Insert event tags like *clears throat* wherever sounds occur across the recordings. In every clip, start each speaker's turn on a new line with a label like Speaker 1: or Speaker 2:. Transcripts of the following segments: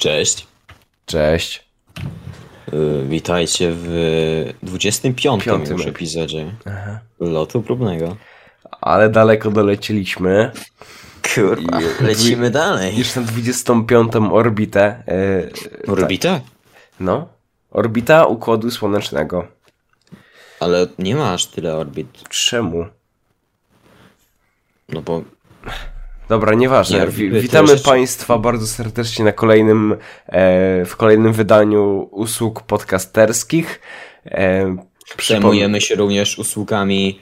Speaker 1: Cześć.
Speaker 2: Cześć.
Speaker 1: Y, Witajcie w 25
Speaker 2: Piątym.
Speaker 1: już epizodzie lotu próbnego.
Speaker 2: Ale daleko dolecieliśmy.
Speaker 1: Kurwa, lecimy dalej. No,
Speaker 2: Już na 25. orbitę. e,
Speaker 1: Orbita?
Speaker 2: no. Orbita Układu Słonecznego.
Speaker 1: Ale nie masz tyle orbit.
Speaker 2: Czemu?
Speaker 1: No bo
Speaker 2: Dobra, nieważne.
Speaker 1: Nie,
Speaker 2: Wi-
Speaker 1: orbity
Speaker 2: witamy
Speaker 1: jeszcze-
Speaker 2: Państwa bardzo serdecznie na kolejnym, e, w kolejnym wydaniu usług podcasterskich. E, przypom-
Speaker 1: zajmujemy się również usługami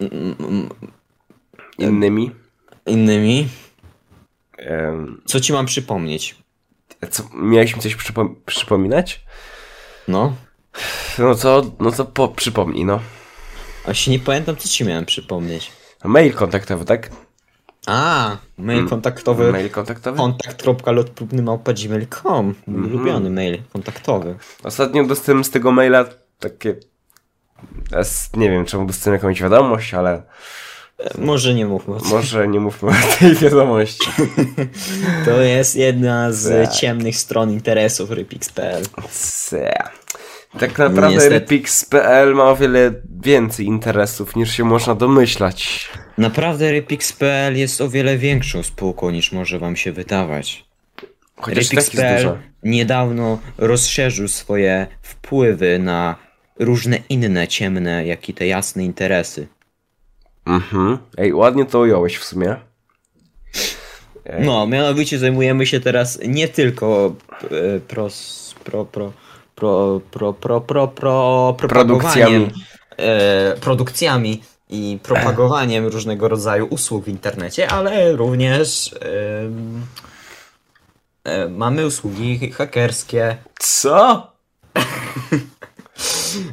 Speaker 1: mm, mm,
Speaker 2: Innymi.
Speaker 1: innymi.
Speaker 2: E,
Speaker 1: Co ci mam przypomnieć?
Speaker 2: co, mieliśmy coś przypom- przypominać?
Speaker 1: No,
Speaker 2: No co, no co po- przypomnij, no.
Speaker 1: a się nie pamiętam, co ci miałem przypomnieć.
Speaker 2: Mail kontaktowy, tak?
Speaker 1: A, mail kontaktowy.
Speaker 2: Mail kontaktowy?
Speaker 1: kontakt.lotpróbny.gmail.com Mój ulubiony mail kontaktowy.
Speaker 2: Ostatnio dostałem z tego maila takie. es- Nie wiem, czemu dostałem jakąś wiadomość, ale
Speaker 1: E, Może nie mówmy o tym.
Speaker 2: może nie mówmy o tej wiadomości.
Speaker 1: To jest jedna z
Speaker 2: Tak.
Speaker 1: ciemnych stron interesów Rypix.pl.
Speaker 2: Se. Tak naprawdę
Speaker 1: No Niestety.
Speaker 2: Repix.pl ma o wiele więcej interesów niż się można domyślać.
Speaker 1: Naprawdę Rypix.pl jest o wiele większą spółką niż może wam się wydawać.
Speaker 2: Chociaż i tak jest
Speaker 1: Rypix.pl
Speaker 2: dużo.
Speaker 1: niedawno rozszerzył swoje wpływy na różne inne ciemne, jak i te jasne interesy.
Speaker 2: Mhm. Ej, ładnie to ująłeś w sumie. Ej.
Speaker 1: No, mianowicie zajmujemy się teraz nie tylko e, pros, pro, pro, pro, pro, pro, pro, pro,
Speaker 2: Produkcjami.
Speaker 1: propagowaniem, e, produkcjami i propagowaniem różnego rodzaju usług w internecie, ale również em, e, mamy usługi hakerskie.
Speaker 2: Co?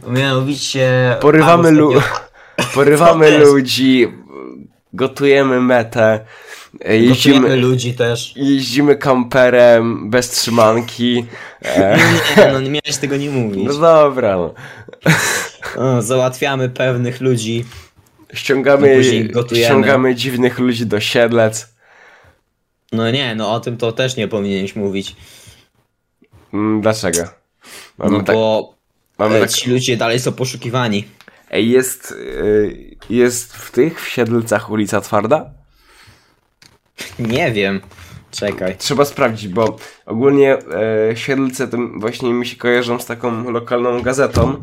Speaker 1: Mianowicie...
Speaker 2: Porywamy,
Speaker 1: Pan
Speaker 2: lu-
Speaker 1: ostatnio- To
Speaker 2: Porywamy
Speaker 1: też.
Speaker 2: ludzi, gotujemy metę, e,
Speaker 1: Gotujemy
Speaker 2: *laughs* jeździmy,
Speaker 1: ludzi też.
Speaker 2: jeździmy kamperem bez trzymanki. E,
Speaker 1: Nie, no nie miałeś tego nie mówić.
Speaker 2: no dobra. no.
Speaker 1: O, załatwiamy pewnych ludzi. I
Speaker 2: Ściągamy,
Speaker 1: No później gotujemy.
Speaker 2: ściągamy dziwnych ludzi do siedlec.
Speaker 1: No nie, no o tym to też nie powinieneś mówić.
Speaker 2: Mm, Dlaczego? Mamy
Speaker 1: No
Speaker 2: tak.
Speaker 1: bo
Speaker 2: Mamy
Speaker 1: e,
Speaker 2: tak
Speaker 1: ci ludzie dalej są poszukiwani. *laughs*
Speaker 2: ej, jest, y, jest w tych w siedlcach ulica twarda?
Speaker 1: Nie wiem. Czekaj.
Speaker 2: Trzeba sprawdzić, bo ogólnie e, siedlce to właśnie mi się kojarzą z taką lokalną gazetą.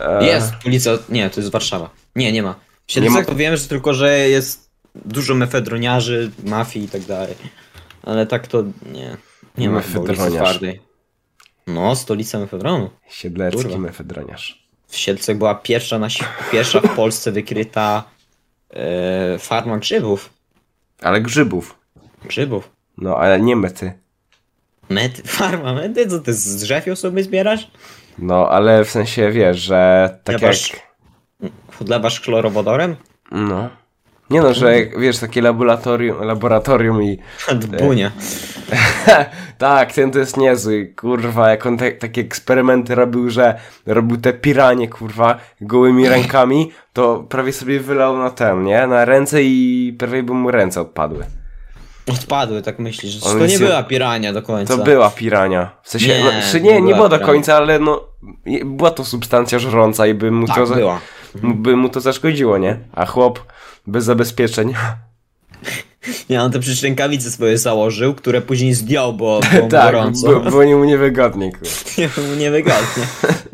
Speaker 2: E,
Speaker 1: Jest ulica. Nie, to jest Warszawa. Nie, nie ma. W
Speaker 2: Nie
Speaker 1: Siedlcach
Speaker 2: ma-
Speaker 1: to wiem, że tylko, że jest dużo mefedroniarzy, mafii i tak dalej. Ale tak to nie. Nie ma chyba ulicy
Speaker 2: Mefedroniarz.
Speaker 1: twardej. No, stolica mefedronu.
Speaker 2: Siedlecki
Speaker 1: Kurwa.
Speaker 2: mefedroniarz.
Speaker 1: W Siedlcach była pierwsza, na, si- pierwsza w Polsce wykryta e, farma grzybów.
Speaker 2: Ale grzybów.
Speaker 1: Grzybów.
Speaker 2: No, ale nie mety.
Speaker 1: Mety, *laughs* farma mety? Co ty z drzew ją sobie zbierasz?
Speaker 2: No, ale w sensie wiesz, że tak
Speaker 1: Lewasz-
Speaker 2: jak.
Speaker 1: Chudlewasz chlorowodorem?
Speaker 2: No. Nie no, że jak, wiesz, takie laboratorium, laboratorium i
Speaker 1: *laughs* Dbunia.
Speaker 2: tak, ten to jest niezły, kurwa, jak on te, takie eksperymenty robił, że robił te piranie, kurwa,
Speaker 1: *laughs*
Speaker 2: gołymi rękami, to prawie sobie wylał na ten, nie? Na ręce i prawie by mu ręce odpadły.
Speaker 1: Odpadły, tak myślisz. że
Speaker 2: On
Speaker 1: To nie
Speaker 2: się-
Speaker 1: była pirania do końca.
Speaker 2: To była pirania. W sensie,
Speaker 1: Nie,
Speaker 2: nie, no, czy
Speaker 1: nie
Speaker 2: nie, nie,
Speaker 1: była
Speaker 2: było do
Speaker 1: pirania.
Speaker 2: końca, ale no, je- była to substancja żrąca i by mu,
Speaker 1: Tak,
Speaker 2: to, za-
Speaker 1: była.
Speaker 2: by mu to zaszkodziło, nie? A chłop bez
Speaker 1: *laughs*
Speaker 2: zabezpieczeń.
Speaker 1: Ja on te przecież rękawice swoje założył, które później zdjął,
Speaker 2: *laughs*
Speaker 1: bo było
Speaker 2: tak,
Speaker 1: gorąco.
Speaker 2: bo- było mu niewygodnie, kurwa.
Speaker 1: *laughs* Nie, było mu niewygodnie.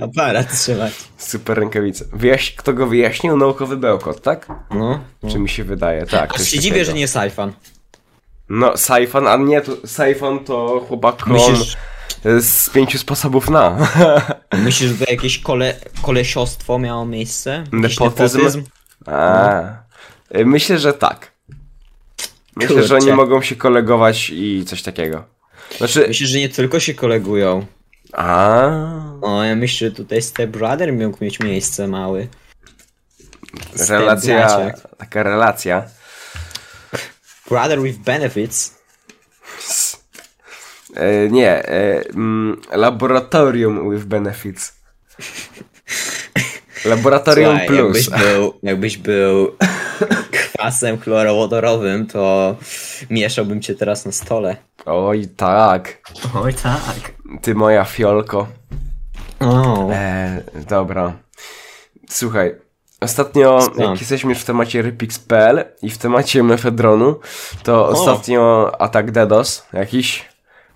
Speaker 1: Aparat trzymać.
Speaker 2: Super rękawice. Wyjaś... Kto go wyjaśnił? Naukowy Bełkot, tak?
Speaker 1: No.
Speaker 2: Czy mi się wydaje, tak.
Speaker 1: Aż
Speaker 2: coś
Speaker 1: się dziwię,
Speaker 2: takiego.
Speaker 1: że nie Saifan.
Speaker 2: No, Saifan, a nie, to Saifan to chłopak klon
Speaker 1: Myślisz,
Speaker 2: z pięciu sposobów na. *laughs*
Speaker 1: myślisz, że to jakieś kole, kolesiostwo miało miejsce? Jakiś
Speaker 2: Nepotyzm? A. Y, Myślę, że tak. Myślę, że oni
Speaker 1: No. Kurczę.
Speaker 2: mogą się kolegować i coś takiego. Znaczy,
Speaker 1: Myślę, że nie tylko się kolegują.
Speaker 2: a
Speaker 1: O, ja myślę, że tutaj Step Brother mógł mieć miejsce mały.
Speaker 2: relacja,
Speaker 1: braciak.
Speaker 2: taka relacja.
Speaker 1: Brother with benefits.
Speaker 2: E, nie, e, mm, laboratorium with
Speaker 1: *laughs*
Speaker 2: benefits. Laboratorium
Speaker 1: Słuchaj,
Speaker 2: plus.
Speaker 1: Jakbyś był, jakbyś był *laughs* kwasem chlorowodorowym, to mieszałbym cię teraz na stole.
Speaker 2: Oj tak,
Speaker 1: Oj tak.
Speaker 2: ty moja fiolko.
Speaker 1: O,
Speaker 2: Eee, dobra. Słuchaj, ostatnio,
Speaker 1: Co?
Speaker 2: jak jesteśmy już w temacie Rypix.pl i w temacie Mefedronu, to ostatnio atak DDoS jakiś,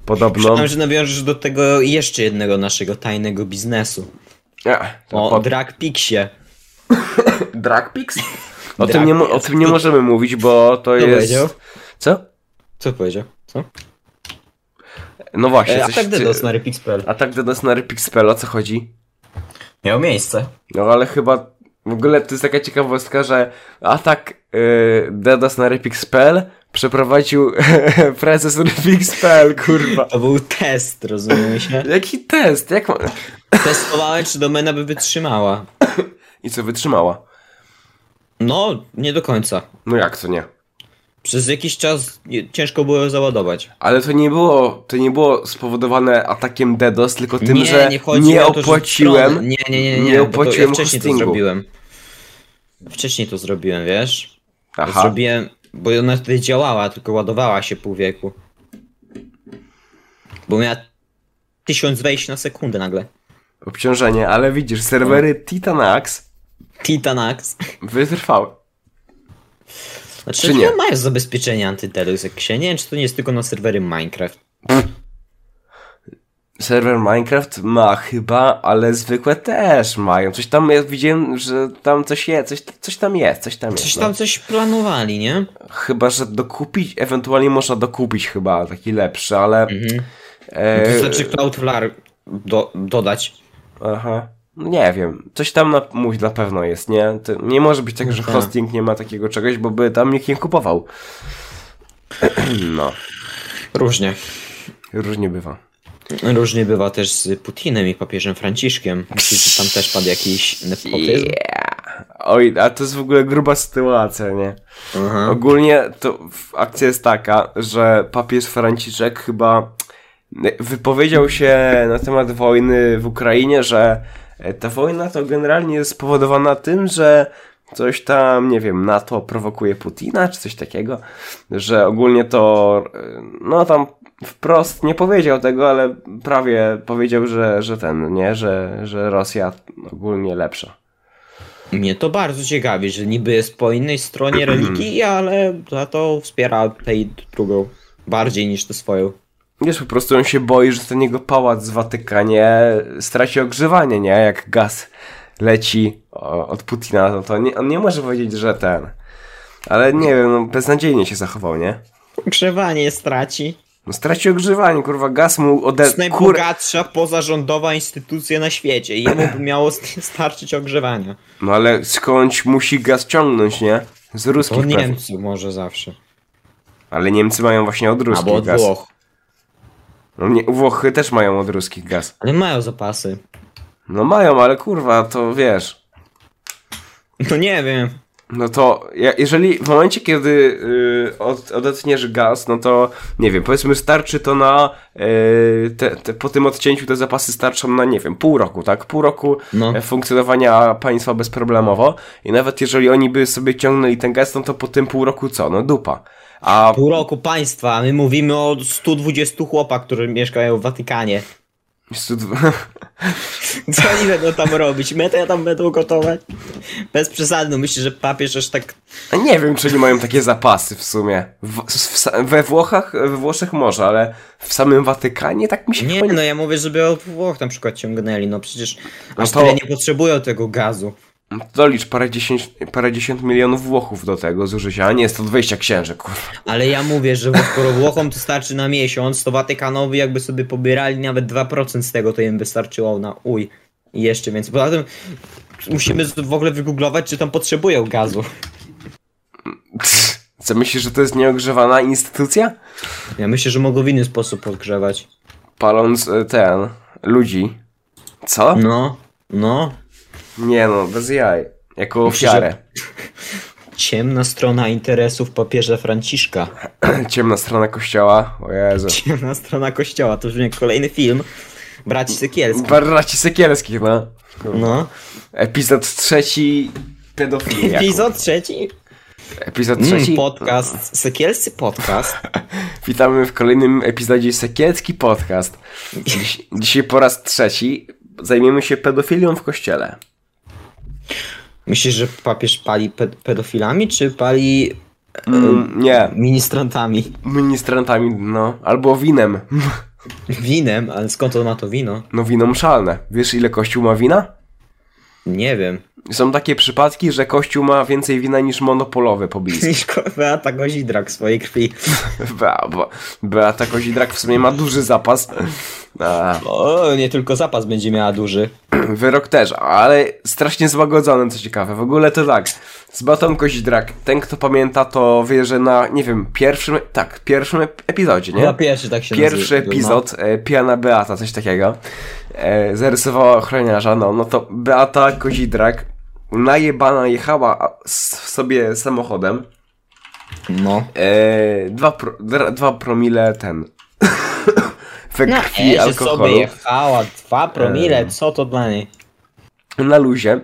Speaker 2: podobno.
Speaker 1: Przyznam, że nawiążesz do tego jeszcze jednego naszego tajnego biznesu.
Speaker 2: E, to
Speaker 1: O
Speaker 2: pod-
Speaker 1: Dragpixie.
Speaker 2: Dragpix? O,
Speaker 1: Drag
Speaker 2: tym nie, mo- o
Speaker 1: Pix.
Speaker 2: tym nie możemy mówić, bo to
Speaker 1: Kto
Speaker 2: jest...
Speaker 1: powiedział?
Speaker 2: Co?
Speaker 1: Co powiedział? Co?
Speaker 2: No właśnie.
Speaker 1: E,
Speaker 2: coś
Speaker 1: atak
Speaker 2: ty-
Speaker 1: DDoS na Repix.pl.
Speaker 2: Atak DDoS na Rypix.pl, o co chodzi?
Speaker 1: Miał miejsce.
Speaker 2: No ale chyba... W ogóle to jest taka ciekawostka, że atak yy, DDoS na Rypix.pl przeprowadził *laughs* prezes Rypix.pl, kurwa.
Speaker 1: To był test, rozumiemy się? *laughs*
Speaker 2: Jaki test? Jak ma...
Speaker 1: Testowałem, czy domena by wytrzymała.
Speaker 2: I co, wytrzymała?
Speaker 1: No, nie do końca.
Speaker 2: No jak to nie?
Speaker 1: Przez jakiś czas nie- ciężko było ją załadować.
Speaker 2: Ale to nie było, to nie było spowodowane atakiem DDoS, tylko tym,
Speaker 1: nie,
Speaker 2: że
Speaker 1: nie, chodzi
Speaker 2: nie
Speaker 1: o to, że
Speaker 2: opłaciłem...
Speaker 1: stronę- Nie, nie, nie, nie,
Speaker 2: nie
Speaker 1: nie opłaciłem
Speaker 2: opłaciłem
Speaker 1: bo to ja wcześniej
Speaker 2: hostingu.
Speaker 1: to zrobiłem. Wcześniej to zrobiłem, wiesz?
Speaker 2: Aha.
Speaker 1: Zrobiłem, bo ona wtedy działała, tylko ładowała się pół wieku. Bo miała tysiąc wejść na sekundę nagle.
Speaker 2: obciążenie, ale widzisz, serwery
Speaker 1: No.
Speaker 2: Titanax
Speaker 1: Titanax.
Speaker 2: wytrwały.
Speaker 1: Znaczy,
Speaker 2: Czy
Speaker 1: czy
Speaker 2: nie?
Speaker 1: nie mają zabezpieczenie antydelus, jak się nie wiem, czy to nie jest tylko na serwery Minecraft.
Speaker 2: Serwer Minecraft ma chyba, ale zwykłe też mają. Coś tam, ja widziałem, że tam coś jest, coś, coś tam jest, coś tam jest.
Speaker 1: Coś
Speaker 2: no.
Speaker 1: tam coś planowali, nie?
Speaker 2: Chyba, że dokupić, ewentualnie można dokupić chyba taki lepszy, ale...
Speaker 1: Mhm.
Speaker 2: E,
Speaker 1: Wystarczy znaczy Cloudflare do, dodać.
Speaker 2: aha. No Nie wiem, coś tam na, mój na pewno jest, nie? To nie może być tak, że
Speaker 1: Tak.
Speaker 2: hosting nie ma takiego czegoś, bo by tam nikt nie kupował. No,
Speaker 1: Różnie.
Speaker 2: różnie bywa.
Speaker 1: Różnie bywa też z Putinem i papieżem Franciszkiem. Myślisz, że tam też padł jakiś nepotyzm?
Speaker 2: Yeah. Oj, a to jest w ogóle gruba sytuacja, nie?
Speaker 1: Aha.
Speaker 2: Ogólnie to w- akcja jest taka, że papież Franciszek chyba wypowiedział się na temat wojny w Ukrainie, że e, ta wojna to generalnie jest spowodowana tym, że coś tam, nie wiem, NATO prowokuje Putina, czy coś takiego, że ogólnie to, e, no tam wprost nie powiedział tego, ale prawie powiedział, że, że ten, nie, że, że Rosja ogólnie lepsza.
Speaker 1: Mnie to bardzo ciekawi, że niby jest po innej stronie religii, ale za to wspiera tej drugą bardziej niż tę swoją.
Speaker 2: Wiesz, po prostu on się boi, że ten jego pałac w Watykanie straci ogrzewanie, nie? Jak gaz leci o, od Putina, no to nie, on nie może powiedzieć, że ten. Ale nie wiem, no beznadziejnie się zachował, nie?
Speaker 1: Ogrzewanie straci.
Speaker 2: No straci ogrzewanie, kurwa, gaz mu
Speaker 1: To
Speaker 2: ode...
Speaker 1: jest najbogatsza pozarządowa instytucja na świecie i jemu by miało st- starczyć ogrzewania.
Speaker 2: No ale skądś musi gaz ciągnąć, nie? Z
Speaker 1: No To
Speaker 2: ruskich pewnie.
Speaker 1: Niemcy może zawsze.
Speaker 2: Ale Niemcy mają właśnie od ruskich
Speaker 1: Albo od
Speaker 2: gaz.
Speaker 1: Włoch.
Speaker 2: No nie, Włochy też mają od ruskich gaz.
Speaker 1: Ale mają zapasy.
Speaker 2: No mają, ale kurwa, to wiesz...
Speaker 1: No nie wiem.
Speaker 2: No to ja, jeżeli w momencie, kiedy y, od, odetniesz gaz, no to nie wiem, powiedzmy starczy to na y, te, te, po tym odcięciu te zapasy starczą na nie wiem, pół roku, tak? Pół roku
Speaker 1: No.
Speaker 2: e, funkcjonowania państwa bezproblemowo i nawet jeżeli oni by sobie ciągnęli ten gaz, no to po tym pół roku co? No dupa. A *laughs*
Speaker 1: Pół roku państwa, a my mówimy o 120 chłopach, którzy mieszkają w Watykanie. *laughs* Co oni będą tam robić? Metę tam będą gotować? Bez przesady, no myślę, że papież aż tak...
Speaker 2: A nie wiem, czy oni mają takie zapasy w sumie. W, w, sa- we Włochach, we Włoszech może, ale w samym Watykanie tak mi się
Speaker 1: Nie
Speaker 2: chyba
Speaker 1: no, ja mówię, żeby od Włoch na przykład ciągnęli, no przecież
Speaker 2: No
Speaker 1: aż
Speaker 2: to-
Speaker 1: tyle nie potrzebują tego gazu.
Speaker 2: Dolicz parędziesiąt, parędziesiąt milionów Włochów do tego zużycia, a nie 120 księży, kurwa. *laughs*
Speaker 1: Ale ja mówię, że skoro Włochom to starczy na miesiąc, to Watykanowi jakby sobie pobierali nawet 2% z tego, to im wystarczyło na uj. I jeszcze więcej. Poza tym musimy z- w ogóle wygooglować, czy tam potrzebują gazu.
Speaker 2: Co myślisz, że to jest nieogrzewana instytucja?
Speaker 1: Ja myślę, że mogą w inny sposób podgrzewać.
Speaker 2: Paląc e, ten, ludzi. Co?
Speaker 1: No, no.
Speaker 2: Nie no, bez jaj. Jako
Speaker 1: Myślę,
Speaker 2: ofiarę. *clears throat*
Speaker 1: Ciemna strona interesów papieża
Speaker 2: Tak.
Speaker 1: Franciszka.
Speaker 2: Ciemna strona kościoła, o Jezu.
Speaker 1: Ciemna strona kościoła, to brzmi jak kolejny film. Braci Sykielski.
Speaker 2: Barraci Sekielskich, no.
Speaker 1: No.
Speaker 2: Epizod trzeci, pedofilia.
Speaker 1: Epizod trzeci.
Speaker 2: Epizod trzeci.
Speaker 1: Mm, podcast, Sekielscy podcast.
Speaker 2: Witamy w kolejnym epizodzie Sekielski Podcast. Dziś, dzisiaj po raz trzeci zajmiemy się pedofilią w kościele.
Speaker 1: Myślisz, że papież pali ped- pedofilami, czy pali
Speaker 2: Mm, nie,
Speaker 1: ministrantami?
Speaker 2: ministrantami, no, albo winem.
Speaker 1: Winem, ale skąd on ma to wino?
Speaker 2: No wino mszalne. Wiesz ile kościół ma wina?
Speaker 1: Nie wiem.
Speaker 2: Są takie przypadki, że kościół ma więcej wina niż
Speaker 1: *laughs*
Speaker 2: monopolowe pobliski.
Speaker 1: Niż Beata Gozidrak w swojej krwi.
Speaker 2: Be- bo- Beata Kozidrak w sumie ma duży zapas. A, *clears throat*
Speaker 1: O, nie tylko zapas będzie miała duży.
Speaker 2: wyrok też, ale strasznie złagodzony, co ciekawe. W ogóle to tak, z Beatą Kozidrak, ten kto pamięta to wie, że na, nie wiem, pierwszym, tak, pierwszym ep- epizodzie, nie?
Speaker 1: Chyba pierwszy tak się
Speaker 2: Pierwszy
Speaker 1: nazywa.
Speaker 2: epizod, e, Pijana Beata, coś takiego, e, zarysowała ochroniarza, no, no to Beata Kozidrak najebana jechała a, s- sobie samochodem,
Speaker 1: No.
Speaker 2: e, dwa, pro, dra, dwa promile ten, *coughs* we
Speaker 1: Na
Speaker 2: krwi
Speaker 1: Ezie
Speaker 2: alkoholu,
Speaker 1: No, e, sobie jechała, dwa promile, co to dla niej?
Speaker 2: na luzie,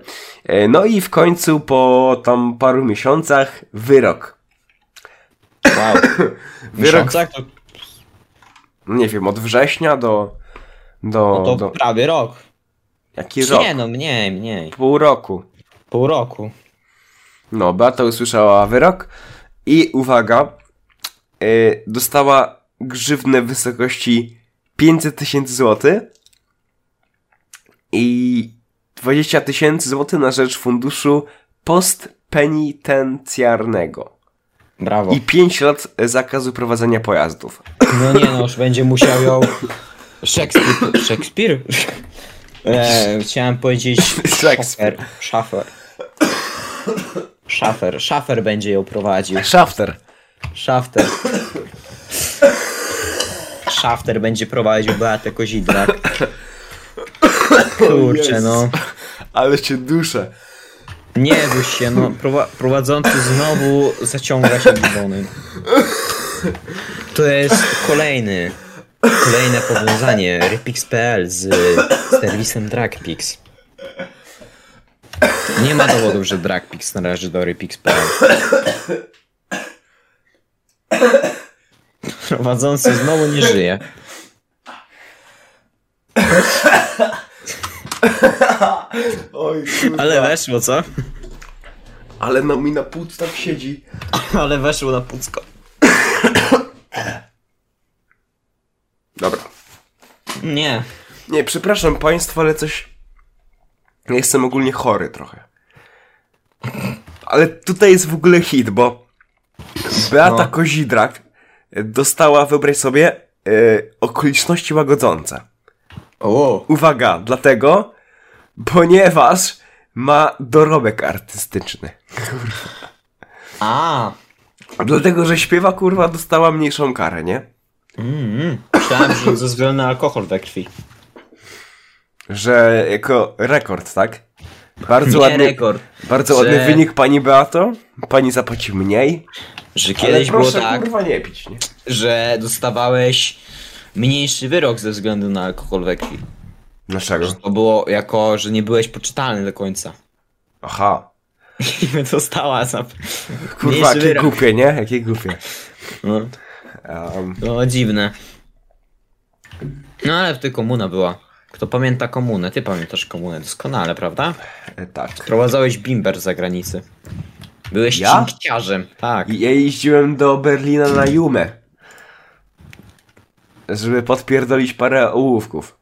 Speaker 2: e, no i w końcu po tam paru miesiącach wyrok.
Speaker 1: Wow.
Speaker 2: *laughs* Wyrok,
Speaker 1: Miesiącach to,
Speaker 2: nie wiem, od września do, do,
Speaker 1: No to
Speaker 2: do
Speaker 1: prawie rok.
Speaker 2: jaki rok?
Speaker 1: Nie no, mniej, mniej.
Speaker 2: Pół roku.
Speaker 1: Pół roku.
Speaker 2: No, Beata usłyszała wyrok i uwaga, yy, dostała grzywnę w wysokości 500 tysięcy złotych i 20 tysięcy złotych na rzecz funduszu postpenitencjarnego
Speaker 1: Brawo.
Speaker 2: i 5 lat zakazu prowadzenia pojazdów.
Speaker 1: No nie no, już będzie musiał ją... Szekspir...
Speaker 2: *laughs*
Speaker 1: Szekspir? E, chciałem powiedzieć...
Speaker 2: Szekspir.
Speaker 1: Szafer. Szafer. Szafer. Szafer będzie ją prowadził.
Speaker 2: Szafter.
Speaker 1: Szafter. Szafter będzie prowadził Beatę Kozidrak. Kurczę no.
Speaker 2: Ale się duszę.
Speaker 1: Nie bój się no. Prowa- prowadzący znowu zaciąga się dzwonem. To jest kolejny. Kolejne powiązanie Rypix.pl z serwisem DragPix. Nie ma dowodów, że DragPix należy do Rypix.pl. Prowadzący znowu nie żyje.
Speaker 2: Oj,
Speaker 1: Ale weszło, co?
Speaker 2: Ale no mi na płuc tak siedzi.
Speaker 1: Ale weszło na pucko.
Speaker 2: Dobra.
Speaker 1: Nie.
Speaker 2: Nie, przepraszam państwa, ale coś. Ja jestem ogólnie chory trochę. Ale tutaj jest w ogóle hit, bo Beata
Speaker 1: No.
Speaker 2: Kozidrak dostała, wyobraź sobie, e, okoliczności łagodzące.
Speaker 1: O.
Speaker 2: Uwaga, dlatego, ponieważ ma dorobek artystyczny.
Speaker 1: A.
Speaker 2: Dlatego, że śpiewa, kurwa, dostała mniejszą karę, nie?
Speaker 1: Mm, myślałem, że zezwolony alkohol we krwi.
Speaker 2: Że jako rekord, tak? Bardzo ładny,
Speaker 1: rekord.
Speaker 2: bardzo
Speaker 1: że-
Speaker 2: ładny wynik, pani Beato. Pani zapłaci mniej.
Speaker 1: Że kiedyś
Speaker 2: Ale
Speaker 1: było
Speaker 2: proszę,
Speaker 1: tak,
Speaker 2: kurwa nie pić, nie?
Speaker 1: że dostawałeś mniejszy wyrok ze względu na alkohol we krwi.
Speaker 2: Dlaczego?
Speaker 1: To było jako, że nie byłeś poczytalny do końca. *laughs*
Speaker 2: Aha.
Speaker 1: I dostała za...
Speaker 2: Kurwa,
Speaker 1: Mniejszy
Speaker 2: jakie
Speaker 1: wyrok.
Speaker 2: głupie, nie? Jakie głupie.
Speaker 1: No,
Speaker 2: Um,
Speaker 1: no dziwne. No ale ty komuna była. Kto pamięta komunę? Ty pamiętasz komunę doskonale, prawda?
Speaker 2: e, tak.
Speaker 1: Prowadzałeś bimber za granicę. Byłeś
Speaker 2: Ja?
Speaker 1: cinkciarzem, tak.
Speaker 2: I- Ja jeździłem do Berlina na Jumę. Żeby podpierdolić parę ołówków.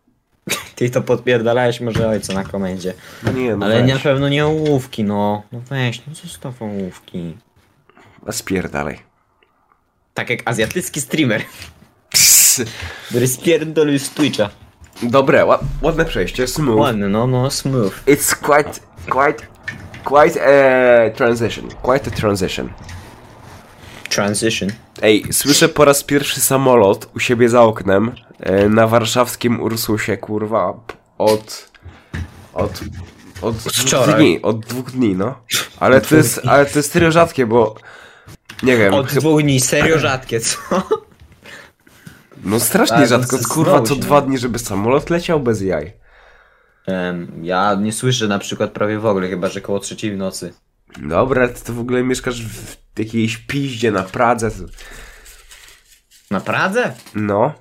Speaker 1: Ty to podpierdalałeś może ojca na komendzie.
Speaker 2: Nie no,
Speaker 1: Ale
Speaker 2: Ale
Speaker 1: nie,
Speaker 2: weź.
Speaker 1: na pewno nie ołówki, no. No weź, no zostaw ołówki.
Speaker 2: A Spierdalej.
Speaker 1: Tak jak azjatycki streamer,
Speaker 2: Pss.
Speaker 1: który spierdolił z Twitcha.
Speaker 2: Dobre, ład, ładne przejście, smooth.
Speaker 1: Ładny, no, no, smooth.
Speaker 2: It's quite, quite, quite a transition. Quite a transition.
Speaker 1: Transition.
Speaker 2: Ej, słyszę po raz pierwszy samolot u siebie za oknem e, na warszawskim Ursusie, kurwa, p- od. od. od dwóch
Speaker 1: wczoraj.
Speaker 2: dni, od dwóch dni, no. Ale to jest, ale to jest tyle rzadkie, bo. nie wiem,
Speaker 1: Od
Speaker 2: chyba,
Speaker 1: dwóch dni, serio rzadkie, co? *laughs*
Speaker 2: no strasznie
Speaker 1: Ale
Speaker 2: rzadko,
Speaker 1: to
Speaker 2: kurwa,
Speaker 1: znowu
Speaker 2: co
Speaker 1: się
Speaker 2: dwa
Speaker 1: nie-
Speaker 2: dni, żeby samolot leciał bez jaj.
Speaker 1: Em, ja nie słyszę na przykład prawie w ogóle, chyba że koło trzeciej w nocy.
Speaker 2: Dobra, ty to w ogóle mieszkasz w jakiejś piździe na Pradze.
Speaker 1: Na Pradze?
Speaker 2: No.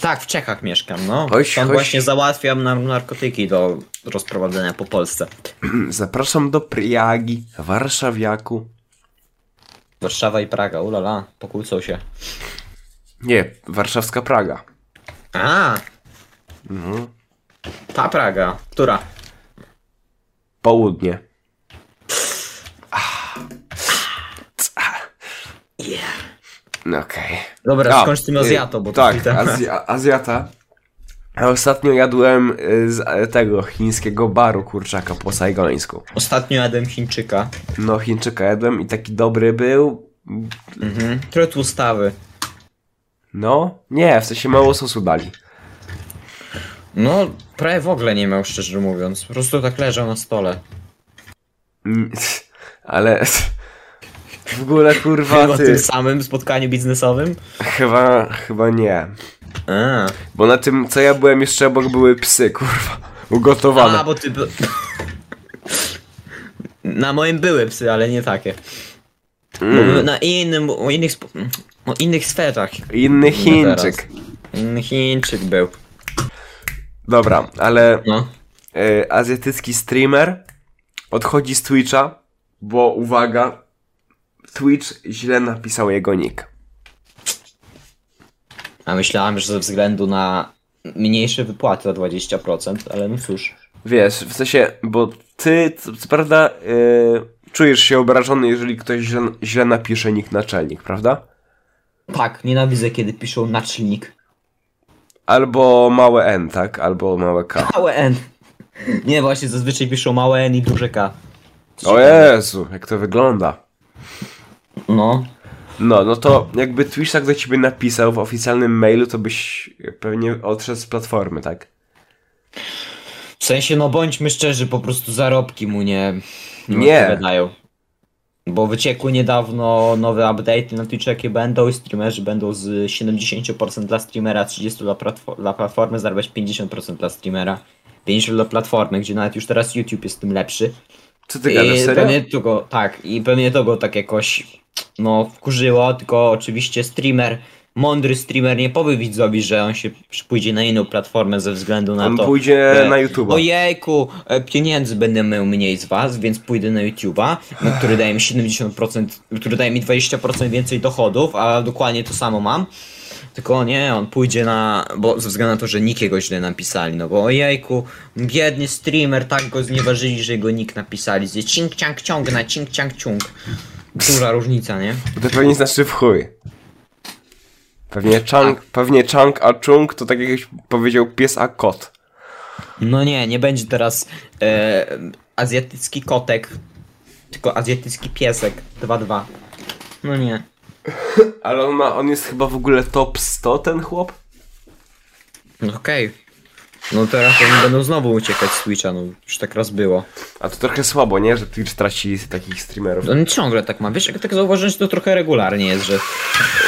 Speaker 1: Tak, w Czechach mieszkam, no.
Speaker 2: Chodź,
Speaker 1: Tam
Speaker 2: chodź.
Speaker 1: właśnie załatwiam nar- narkotyki do rozprowadzenia po Polsce.
Speaker 2: Mm, Zapraszam do Priagi, Warszawiaku.
Speaker 1: Warszawa i Praga, ulala, pokłócą się.
Speaker 2: Nie, warszawska Praga.
Speaker 1: A,
Speaker 2: Mhm.
Speaker 1: ta Praga, która?
Speaker 2: Południe.
Speaker 1: Yeah.
Speaker 2: No okej.
Speaker 1: Dobra,
Speaker 2: A,
Speaker 1: skończ tym
Speaker 2: y,
Speaker 1: Azjato, bo to
Speaker 2: Tak,
Speaker 1: tutaj-
Speaker 2: Azja, Azjata. A ostatnio jadłem y, z e, tego chińskiego baru kurczaka po sajgońsku.
Speaker 1: Ostatnio jadłem Chińczyka,
Speaker 2: No, Chińczyka jadłem i taki dobry był.
Speaker 1: mhm. który tłustawy.
Speaker 2: No, nie, w sensie mało sosu dali.
Speaker 1: No, prawie w ogóle nie miał, szczerze mówiąc. Po prostu tak leżał na stole.
Speaker 2: Mm, *laughs* Ale *laughs* w ogóle kurwa
Speaker 1: Chyba w
Speaker 2: ty.
Speaker 1: tym samym spotkaniu biznesowym?
Speaker 2: Chyba, chyba nie.
Speaker 1: A,
Speaker 2: Bo na tym co ja byłem jeszcze obok były psy, kurwa. Ugotowane.
Speaker 1: A bo ty... Na moim były psy, ale nie takie. Bo
Speaker 2: Mm.
Speaker 1: na innym, o innych, spo- o innych sferach.
Speaker 2: Inny
Speaker 1: teraz.
Speaker 2: Chińczyk.
Speaker 1: Inny Chińczyk był.
Speaker 2: Dobra, ale
Speaker 1: No.
Speaker 2: y, azjatycki streamer odchodzi z Twitcha, bo uwaga, Twitch źle napisał jego nick.
Speaker 1: A myślałem, że ze względu na mniejsze wypłaty o 20%, ale no cóż.
Speaker 2: Wiesz, w sensie, bo ty, co, co prawda, y, czujesz się obrażony, jeżeli ktoś źle, źle napisze nick naczelnik, prawda?
Speaker 1: Tak, nienawidzę kiedy piszą naczelnik.
Speaker 2: Albo małe N, tak? Albo małe K.
Speaker 1: Małe N. Nie, właśnie zazwyczaj piszą małe N i duże K.
Speaker 2: O Jezu, jak to wygląda.
Speaker 1: No.
Speaker 2: No, no to jakby Twitch tak do ciebie napisał w oficjalnym mailu, to byś pewnie odszedł z platformy, tak?
Speaker 1: W sensie, no bądźmy szczerzy, po prostu zarobki mu nie...
Speaker 2: Nie.
Speaker 1: odpowiadają. Bo wyciekły niedawno nowe update na Twitchu, jakie będą i streamerzy będą z 70% dla streamera, 30% dla, platfo- dla platformy, zarabiać 50% dla streamera, 50% dla platformy, gdzie nawet już teraz YouTube jest tym lepszy.
Speaker 2: Co ty gadasz,
Speaker 1: I
Speaker 2: serio?
Speaker 1: pewnie to go, tak, i pewnie to go tak jakoś, no, wkurzyło, tylko oczywiście streamer, mądry streamer nie powie widzowi, że on się pójdzie na inną platformę ze wzglądu na
Speaker 2: On
Speaker 1: to.
Speaker 2: pójdzie
Speaker 1: że,
Speaker 2: na YouTube'a.
Speaker 1: Ojejku, e, pieniędzy będę miał mniej z was, więc pójdę na YouTube'a, no, który daje mi 70%, który daje mi 20% więcej dochodów, a dokładnie to samo mam. Tylko nie, on pójdzie na. Bo ze względu na to, że nikiego źle napisali, no bo ojejku, biedny streamer, tak go znieważyli, że jego nick napisali. Z cink ciang ciąg na cink ciang ciąg. Duża różnica, nie?
Speaker 2: To pewnie znaczy w chuj. Pewnie chunk, pewnie chunk a chung to tak jak powiedział pies a kot.
Speaker 1: No nie, nie będzie teraz e, azjatycki kotek, tylko azjatycki piesek 2-2. No nie.
Speaker 2: Ale on, ma, on jest chyba w ogóle top 100 ten chłop?
Speaker 1: No Okej. No teraz oni będą znowu uciekać z Twitcha, no już tak raz było.
Speaker 2: A to trochę słabo, nie? Że Twitch traci takich streamerów.
Speaker 1: On ciągle tak ma. Wiesz, jak tak zauważyłem, że to trochę regularnie jest, że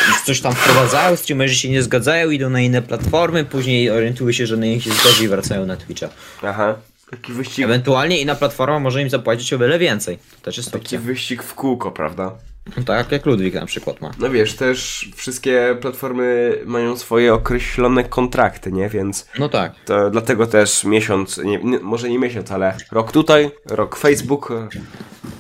Speaker 1: już coś tam wprowadzają, streamerzy się nie zgadzają, idą na inne platformy, później orientują się, że na nich się zgodzi i wracają na Twitcha.
Speaker 2: Aha. Taki wyścig,
Speaker 1: Ewentualnie inna platforma może im zapłacić o wiele więcej. To też jest
Speaker 2: taki
Speaker 1: opcja.
Speaker 2: wyścig w kółko, prawda?
Speaker 1: No, tak jak Ludwik na przykład ma.
Speaker 2: No wiesz, też wszystkie platformy mają swoje określone kontrakty, nie? Więc
Speaker 1: No tak.
Speaker 2: to dlatego też miesiąc, nie, nie, może nie miesiąc, ale rok tutaj, rok Facebook.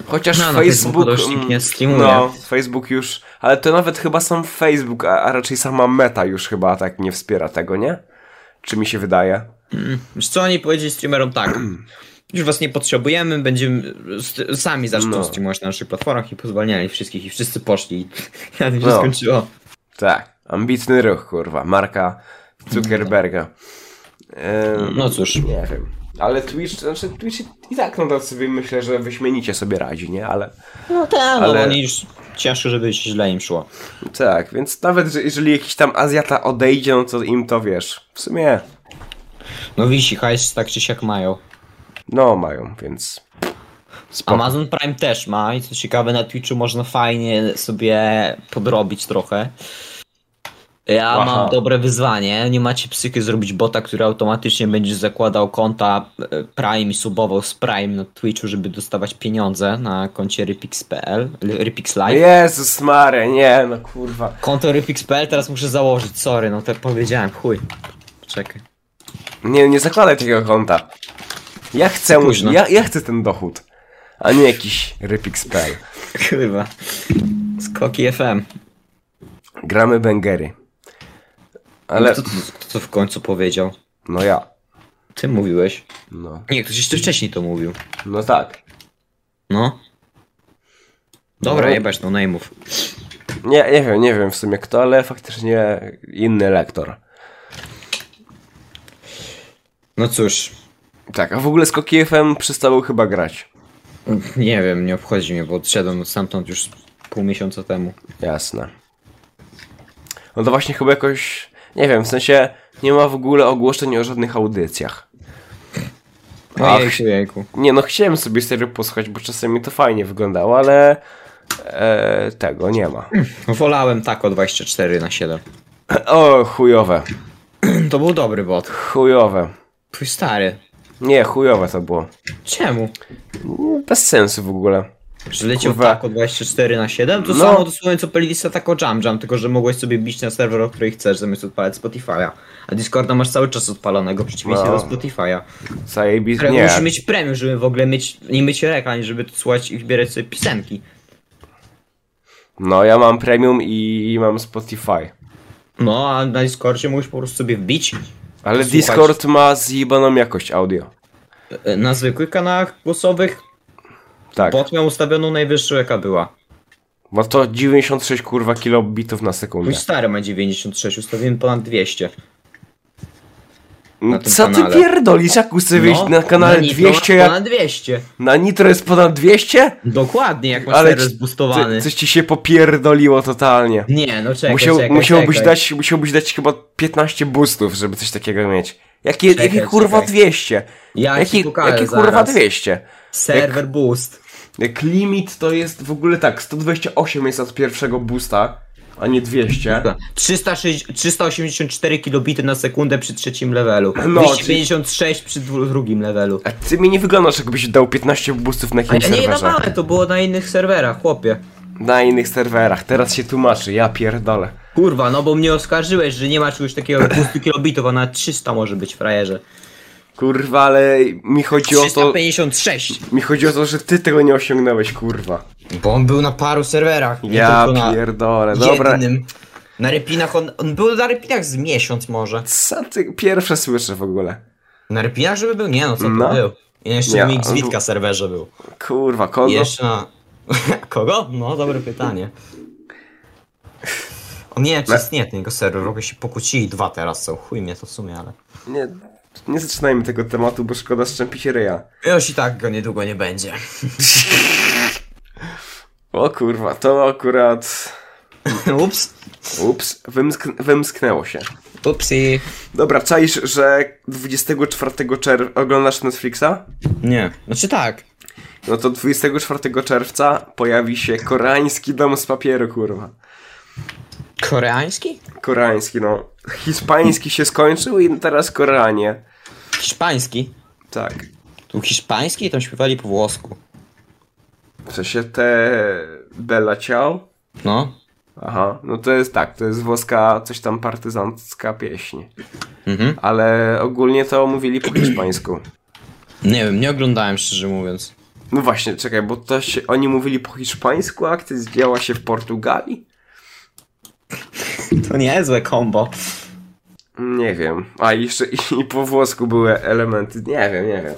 Speaker 2: Chociaż
Speaker 1: No, no,
Speaker 2: Facebook.
Speaker 1: Facebooku dość
Speaker 2: mm,
Speaker 1: nikt nie streamuje.
Speaker 2: No, Facebook już. Ale to nawet chyba sam Facebook, a, a raczej sama meta już chyba tak nie wspiera tego, nie? Czy mi się wydaje?
Speaker 1: Wiesz co oni powiedzieli streamerom tak. Już was nie potrzebujemy, będziemy st- sami zaczną
Speaker 2: No.
Speaker 1: streamować na naszych platformach i pozwalniali wszystkich i wszyscy poszli. *laughs* I na tym się
Speaker 2: No.
Speaker 1: skończyło.
Speaker 2: Tak. Ambitny ruch, kurwa. Marka Zuckerberga. Ym,
Speaker 1: No cóż.
Speaker 2: Nie wiem. Ale Twitch, znaczy Twitch i tak nadal sobie myślę, że wyśmienicie sobie radzi, nie? Ale
Speaker 1: No tak,
Speaker 2: Ale-
Speaker 1: no oni już ciężko, żeby się źle im szło.
Speaker 2: tak, więc nawet że- jeżeli jakiś tam Azjata odejdzie, no to im to wiesz. W sumie,
Speaker 1: No wisi, hajs tak czy siak mają.
Speaker 2: no mają, więc spoko.
Speaker 1: Amazon Prime też ma i co ciekawe na Twitchu można fajnie sobie podrobić trochę. Ja
Speaker 2: Aha.
Speaker 1: mam dobre wyzwanie. Nie macie psychy zrobić bota, który automatycznie będzie zakładał konta e, Prime i subował z Prime na Twitchu, żeby dostawać pieniądze na koncie Rypix.pl, Ly- Rypix Live.
Speaker 2: Jezus Maria, nie, no kurwa.
Speaker 1: Konto Rypix.pl teraz muszę założyć, sorry, no to powiedziałem, chuj. Czekaj.
Speaker 2: Nie, nie zakładaj takiego konta. Ja chcę,
Speaker 1: Późno.
Speaker 2: ja, ja chcę ten dochód. A nie jakiś rypix.pl.
Speaker 1: *laughs* Kurwa. Skoki FM.
Speaker 2: Gramy bęgery.
Speaker 1: Ale...
Speaker 2: Ale,
Speaker 1: Kto, No to- kto to w końcu powiedział?
Speaker 2: no ja.
Speaker 1: Ty mówiłeś.
Speaker 2: No,
Speaker 1: Nie, ktoś jeszcze wcześniej to mówił.
Speaker 2: no tak.
Speaker 1: No. Dobra,
Speaker 2: No.
Speaker 1: jebać, no najmów.
Speaker 2: Nie, nie wiem, nie wiem w sumie kto, ale faktycznie inny lektor.
Speaker 1: No cóż,
Speaker 2: Tak, a w ogóle Skoki FM przestało chyba grać.
Speaker 1: nie wiem, nie obchodzi mnie, bo odszedłem stamtąd już pół miesiąca temu.
Speaker 2: Jasne. No to właśnie chyba jakoś, nie wiem, w sensie nie ma w ogóle ogłoszeń o żadnych audycjach. Ach.
Speaker 1: Ojejku, jejku.
Speaker 2: Nie no, chciałem sobie serio posłuchać, bo czasami to fajnie wyglądało, ale e, tego nie ma.
Speaker 1: Wolałem tak o 24 na 7.
Speaker 2: O, chujowe,
Speaker 1: *clears throat* To był dobry bot.
Speaker 2: chujowe.
Speaker 1: Twój stary.
Speaker 2: Nie, chujowe to było.
Speaker 1: Czemu?
Speaker 2: Bez sensu w ogóle.
Speaker 1: Że leciał
Speaker 2: Kurwa.
Speaker 1: tak o 24 na 7? To
Speaker 2: No.
Speaker 1: samo dosłownie co playlista tak o Jam Jam, tylko że mogłeś sobie bić na serwer, o który chcesz, zamiast odpalać Spotify'a. A Discorda masz cały czas odpalonego, w przeciwieństwie
Speaker 2: No.
Speaker 1: do Spotify'a.
Speaker 2: Zajebis...
Speaker 1: Które
Speaker 2: Nie,
Speaker 1: musisz mieć premium, żeby w ogóle mieć, nie mieć reklam, żeby tu słuchać i wybierać sobie piosenki.
Speaker 2: no ja mam premium i mam Spotify.
Speaker 1: No, a na Discordzie możesz po prostu sobie wbić
Speaker 2: Ale
Speaker 1: Słuchać.
Speaker 2: Discord ma zjebaną jakość audio.
Speaker 1: e, na zwykłych kanałach głosowych,
Speaker 2: Tak.
Speaker 1: bot miał ustawioną najwyższą jaka była.
Speaker 2: Bo to 96 kurwa kilobitów na sekundę.
Speaker 1: Mój stary ma 96, ustawiłem ponad 200. na tym
Speaker 2: No Co ty
Speaker 1: kanale. No,
Speaker 2: pierdolisz, jak ustawiłeś na kanale
Speaker 1: na Nitro no.
Speaker 2: 200,
Speaker 1: masz
Speaker 2: jak
Speaker 1: Ponad 200.
Speaker 2: na Nitro jest ponad 200?
Speaker 1: Dokładnie, jak masz
Speaker 2: Ale
Speaker 1: Ale serwer
Speaker 2: ci-
Speaker 1: zbustowany.
Speaker 2: Ty, coś ci się popierdoliło totalnie.
Speaker 1: Nie, no czekaj,
Speaker 2: Musiał,
Speaker 1: czekaj,
Speaker 2: musiałbyś,
Speaker 1: czekaj.
Speaker 2: Dać, musiałbyś dać chyba 15 boostów, żeby coś takiego mieć. Jakie,
Speaker 1: Czekaj,
Speaker 2: jakie kurwa
Speaker 1: czekaj.
Speaker 2: 200?
Speaker 1: Ja
Speaker 2: Jakie,
Speaker 1: ci pokażę
Speaker 2: jakie
Speaker 1: zaraz.
Speaker 2: kurwa 200?
Speaker 1: Serwer boost.
Speaker 2: Jak limit to jest w ogóle tak, 128 jest od pierwszego boosta, a nie 200.
Speaker 1: Tak. 306, 384 kilobity na sekundę przy trzecim levelu.
Speaker 2: No,
Speaker 1: 256 przy dwu- drugim levelu.
Speaker 2: A ty mi nie wyglądasz, jakbyś dał 15 boostów na
Speaker 1: A
Speaker 2: jakimś
Speaker 1: ja nie
Speaker 2: serwerze.
Speaker 1: dawałem, to było na innych serwerach, chłopie.
Speaker 2: Na innych serwerach, teraz się tłumaczy, ja pierdolę.
Speaker 1: Kurwa, no bo mnie oskarżyłeś, że nie ma czegoś takiego jak 200 kilobitów, a na 300 może być, frajerze.
Speaker 2: Kurwa, ale mi chodzi o to,
Speaker 1: 356!
Speaker 2: mi chodzi o to, że ty tego nie osiągnąłeś, kurwa.
Speaker 1: Bo on był na paru serwerach. nie
Speaker 2: Ja
Speaker 1: tylko na
Speaker 2: pierdolę, dobra.
Speaker 1: jednym. Na repinach on, on był na repinach z miesiąc może.
Speaker 2: Co ty pierwsze słyszę w ogóle?
Speaker 1: Na repinach żeby był? Nie no, co
Speaker 2: No.
Speaker 1: to był? I jeszcze
Speaker 2: Ja,
Speaker 1: na Mix
Speaker 2: on był-
Speaker 1: Witka serwerze był.
Speaker 2: Kurwa, kogo?
Speaker 1: I jeszcze na... *laughs* Kogo? No, dobre pytanie. On nie wiem, czy
Speaker 2: Na-
Speaker 1: istnieje ten jego serwer, robię się pokłócili dwa teraz są, chuj mnie to w sumie, ale...
Speaker 2: Nie, nie zaczynajmy tego tematu, bo szkoda szczępi się ryja.
Speaker 1: Już i tak go niedługo nie będzie.
Speaker 2: O kurwa, to akurat...
Speaker 1: *laughs* Ups.
Speaker 2: Ups, wymsk- wymsknęło się.
Speaker 1: Upsi.
Speaker 2: Dobra, czaisz, że 24 czerwca oglądasz Netflixa?
Speaker 1: Nie. Znaczy tak.
Speaker 2: No to 24 czerwca pojawi się koreański dom z papieru, kurwa.
Speaker 1: Koreański?
Speaker 2: Koreański, no. Hiszpański się skończył i teraz Koreanie.
Speaker 1: Hiszpański.
Speaker 2: Tak.
Speaker 1: Tu hiszpański i tam śpiewali po włosku.
Speaker 2: W sensie te Bella Ciao.
Speaker 1: No.
Speaker 2: Aha, no to jest tak, to jest włoska coś tam partyzancka pieśń.
Speaker 1: Mhm.
Speaker 2: Ale ogólnie to mówili po hiszpańsku.
Speaker 1: Nie wiem, nie oglądałem szczerze mówiąc.
Speaker 2: No właśnie, czekaj, bo to się, oni mówili po hiszpańsku, a akcja działa się w Portugalii?
Speaker 1: To niezłe kombo.
Speaker 2: Nie wiem. A jeszcze i, i po włosku były elementy. Nie wiem, nie wiem.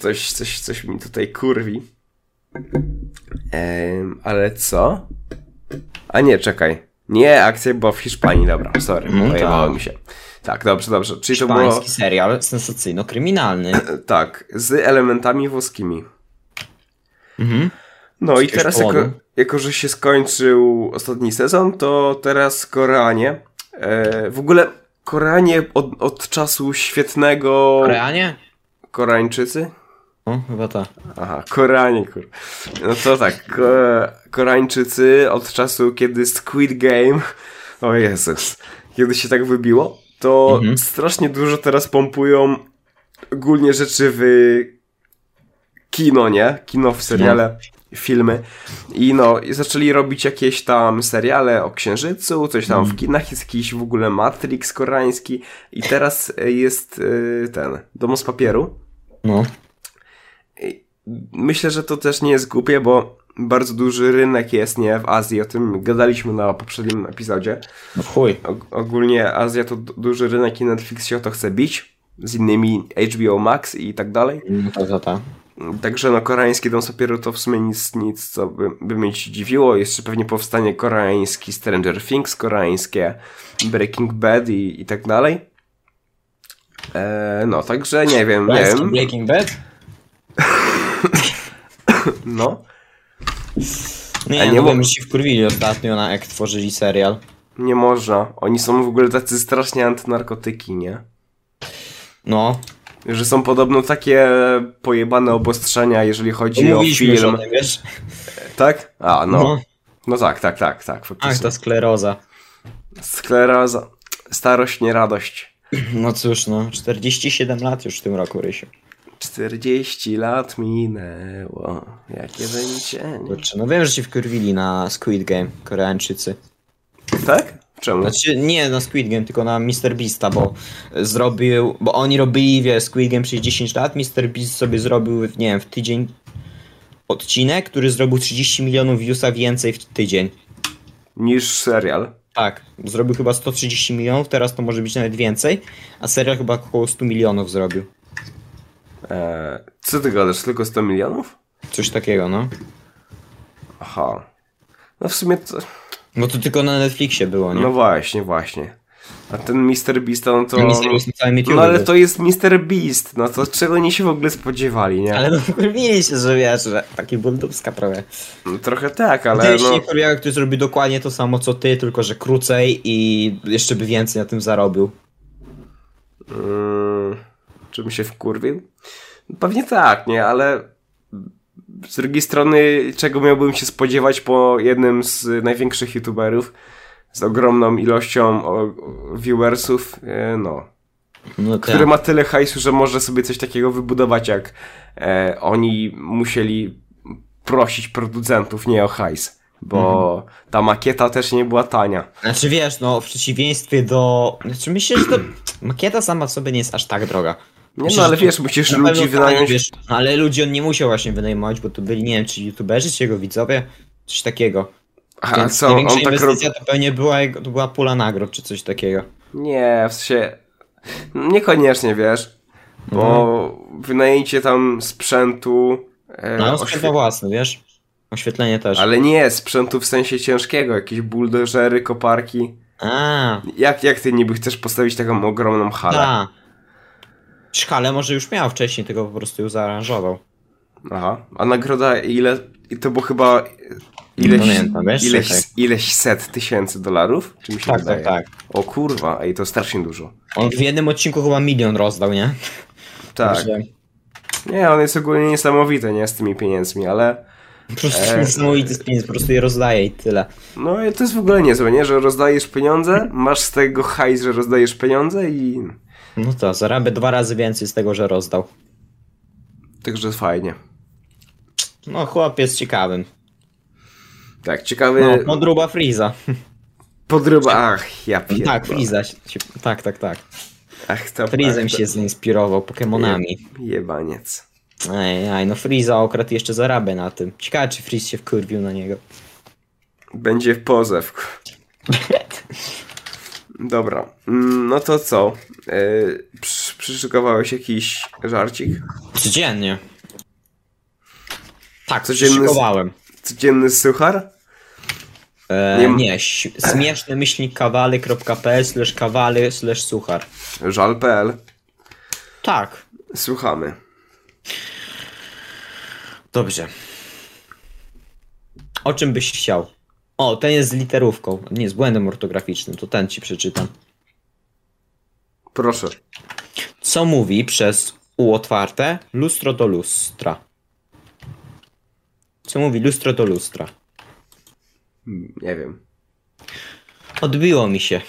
Speaker 2: Coś, coś, coś mi tutaj kurwi. Em, ale co? A nie, czekaj. Nie, akcja była w Hiszpanii, dobra, sorry,
Speaker 1: No
Speaker 2: pojebało
Speaker 1: tak.
Speaker 2: mi się. Tak, dobrze, dobrze. Czyli to było,
Speaker 1: Hiszpański serial sensacyjno-kryminalny.
Speaker 2: tak, z elementami włoskimi.
Speaker 1: Mhm.
Speaker 2: No i
Speaker 1: jakiegoś
Speaker 2: teraz, jako,
Speaker 1: powodu.
Speaker 2: jako że się skończył ostatni sezon, to teraz Koreanie. E, w ogóle Koreanie od, od czasu świetnego.
Speaker 1: Koreanie?
Speaker 2: Koreańczycy?
Speaker 1: O, chyba tak.
Speaker 2: Aha, Koreanie, kur. No to tak, ko, Koreańczycy od czasu, kiedy Squid Game O Jezus. Kiedy się tak wybiło, to
Speaker 1: Mhm.
Speaker 2: strasznie dużo teraz pompują ogólnie rzeczy w kino, nie? Kino w seriale, filmy. I no, i zaczęli robić jakieś tam seriale o Księżycu, coś tam w kinach, jest jakiś w ogóle Matrix koreański. I teraz e, jest e, ten, Domu z papieru.
Speaker 1: No.
Speaker 2: Myślę, że to też nie jest głupie, bo bardzo duży rynek jest, nie? W Azji, o tym gadaliśmy na poprzednim epizodzie.
Speaker 1: No chuj.
Speaker 2: Og- ogólnie Azja to du- duży rynek i Netflix się o to chce bić z innymi HBO Max i tak dalej.
Speaker 1: No to, to, to.
Speaker 2: Także no koreański dom papieru to w sumie nic, nic co by, by mnie ci dziwiło. Jeszcze pewnie powstanie koreański Stranger Things, koreańskie Breaking Bad i, i tak dalej. Eee, no, także nie wiem, nie
Speaker 1: Pański
Speaker 2: wiem.
Speaker 1: Breaking Bad?
Speaker 2: No, A
Speaker 1: Nie,
Speaker 2: nie
Speaker 1: nie no,
Speaker 2: mo-
Speaker 1: bo mi się wkurwili ostatnio na jak tworzyli serial.
Speaker 2: nie można. Oni są w ogóle tacy strasznie antynarkotyki, nie?
Speaker 1: No,
Speaker 2: Że są podobno takie pojebane obostrzenia, jeżeli chodzi o
Speaker 1: mówiliśmy już
Speaker 2: film.
Speaker 1: o tym, wiesz?
Speaker 2: Tak? A, no.
Speaker 1: No.
Speaker 2: no. tak, tak, tak, tak,
Speaker 1: Ach,
Speaker 2: faktycznie.
Speaker 1: ta skleroza.
Speaker 2: Skleroza, starość, nie radość.
Speaker 1: No cóż, no, 47 lat już w tym roku, Rysiu.
Speaker 2: 40 lat minęło. Jakie zajęcienie.
Speaker 1: Kurczę, no wiem, że się wkurwili na Squid Game, Koreańczycy.
Speaker 2: Tak? Czemu?
Speaker 1: Znaczy, nie na Squid Game, tylko na Mr. Beasta, bo zrobił, bo oni robili, wiesz, Squid Game przez 10 lat, Mr. Beast sobie zrobił, nie wiem, w tydzień odcinek, który zrobił 30 milionów viewsa więcej w tydzień.
Speaker 2: Niż serial.
Speaker 1: Tak, zrobił chyba 130 milionów, teraz to może być nawet więcej, a serial chyba około 100 milionów zrobił.
Speaker 2: Eee, co ty gadasz, tylko 100 milionów?
Speaker 1: Coś takiego, no.
Speaker 2: Aha. No w sumie to...
Speaker 1: No to tylko na Netflixie było, nie?
Speaker 2: No właśnie, właśnie. A ten Mr. Beast, no to...
Speaker 1: No, na całym YouTube
Speaker 2: No ale
Speaker 1: był.
Speaker 2: to jest Mr. Beast, no to czego oni się w ogóle spodziewali, nie?
Speaker 1: Ale no *laughs* wkurwili się, że wiesz, że taki ból dupska prawie.
Speaker 2: No, Trochę tak, ale
Speaker 1: Ale
Speaker 2: no...
Speaker 1: no... Korea, który zrobi dokładnie to samo co ty, tylko że krócej i jeszcze by więcej na tym zarobił.
Speaker 2: Mm, Czy bym się wkurwił? Pewnie tak, nie, ale z drugiej strony, czego miałbym się spodziewać po jednym z największych youtuberów z ogromną ilością o, o, viewersów, e, no,
Speaker 1: No
Speaker 2: który ma tyle hajsu, że może sobie coś takiego wybudować, jak e, oni musieli prosić producentów nie o hajs, bo
Speaker 1: Mhm.
Speaker 2: ta makieta też nie była tania.
Speaker 1: Znaczy wiesz, no w przeciwieństwie do... Znaczy myślę, że to... makieta sama w sobie nie jest aż tak droga.
Speaker 2: Nie,
Speaker 1: Myślę,
Speaker 2: no ale
Speaker 1: że to-
Speaker 2: wiesz, musisz
Speaker 1: Na pewno
Speaker 2: ludzi
Speaker 1: tak,
Speaker 2: wynająć.
Speaker 1: wiesz, no, ale ludzi on nie musiał właśnie wynajmować, bo to byli, nie wiem, czy youtuberzy, czy jego widzowie, coś takiego.
Speaker 2: A
Speaker 1: Więc
Speaker 2: co,
Speaker 1: największa
Speaker 2: on tak robi?
Speaker 1: inwestycja to pewnie była, jego- to była pula nagród, czy coś takiego.
Speaker 2: Nie, w sensie. Niekoniecznie wiesz, bo wynajęcie tam sprzętu. E,
Speaker 1: Mhm. No, on
Speaker 2: oświe-
Speaker 1: sprzęt własny, wiesz? Oświetlenie też.
Speaker 2: Ale nie, sprzętu w sensie ciężkiego, jakieś buldożery, koparki.
Speaker 1: A,
Speaker 2: Jak, jak ty niby chcesz postawić taką ogromną halę?
Speaker 1: tak. Szkale może już miał wcześniej, tylko po prostu ją zaaranżował.
Speaker 2: Aha. A nagroda ile? I to było chyba ileś,
Speaker 1: pamiętam, wiesz,
Speaker 2: ileś,
Speaker 1: czekaj.
Speaker 2: ileś set tysięcy dolarów? Czy mi się
Speaker 1: Tak, tak,
Speaker 2: wydaje?
Speaker 1: tak.
Speaker 2: O kurwa, ej, to strasznie dużo.
Speaker 1: On w jednym odcinku chyba milion rozdał, nie? *laughs*
Speaker 2: Tak.
Speaker 1: Także
Speaker 2: Nie, on jest ogólnie niesamowity, nie, z tymi pieniędzmi, ale...
Speaker 1: Po prostu
Speaker 2: E.
Speaker 1: niesamowity spin, po prostu je rozdaje i tyle.
Speaker 2: No i to jest w ogóle niezłe, nie? Że rozdajesz pieniądze, masz z tego hajs, że rozdajesz pieniądze i...
Speaker 1: No to, zarabia dwa razy więcej z tego, że rozdał.
Speaker 2: Także fajnie.
Speaker 1: No, chłopiec ciekawym.
Speaker 2: Tak, ciekawy...
Speaker 1: No, podruba Freeza.
Speaker 2: Podryba... Ach, ja pierdolę.
Speaker 1: Tak, Freeza. się- Tak, tak, tak.
Speaker 2: Ach, to...
Speaker 1: Freezem
Speaker 2: ach, to-
Speaker 1: się zainspirował, Pokemonami.
Speaker 2: Jebaniec.
Speaker 1: Ej, aj, no Freeza okradł i jeszcze zarabia na tym. Ciekawe, czy Freeze się wkurwił na niego.
Speaker 2: Będzie pozew. Dobra. Mm, No to co? Yy, przy, przyszykowałeś jakiś żarcik?
Speaker 1: Codziennie. Tak,
Speaker 2: Codzienny z-
Speaker 1: przyszykowałem.
Speaker 2: Codzienny suchar?
Speaker 1: E,
Speaker 2: nie ma-
Speaker 1: nie, ś- śmieszny myślnik kawaly.pl slash kawaly slash suchar.
Speaker 2: Żal.pl
Speaker 1: Tak.
Speaker 2: Słuchamy.
Speaker 1: Dobrze. O czym byś chciał? O, ten jest z literówką. Nie, z błędem ortograficznym. To ten ci przeczytam.
Speaker 2: Proszę.
Speaker 1: Co mówi przez U otwarte lustro do lustra? Co mówi lustro do lustra?
Speaker 2: Mm, Nie wiem.
Speaker 1: Odbiło mi się.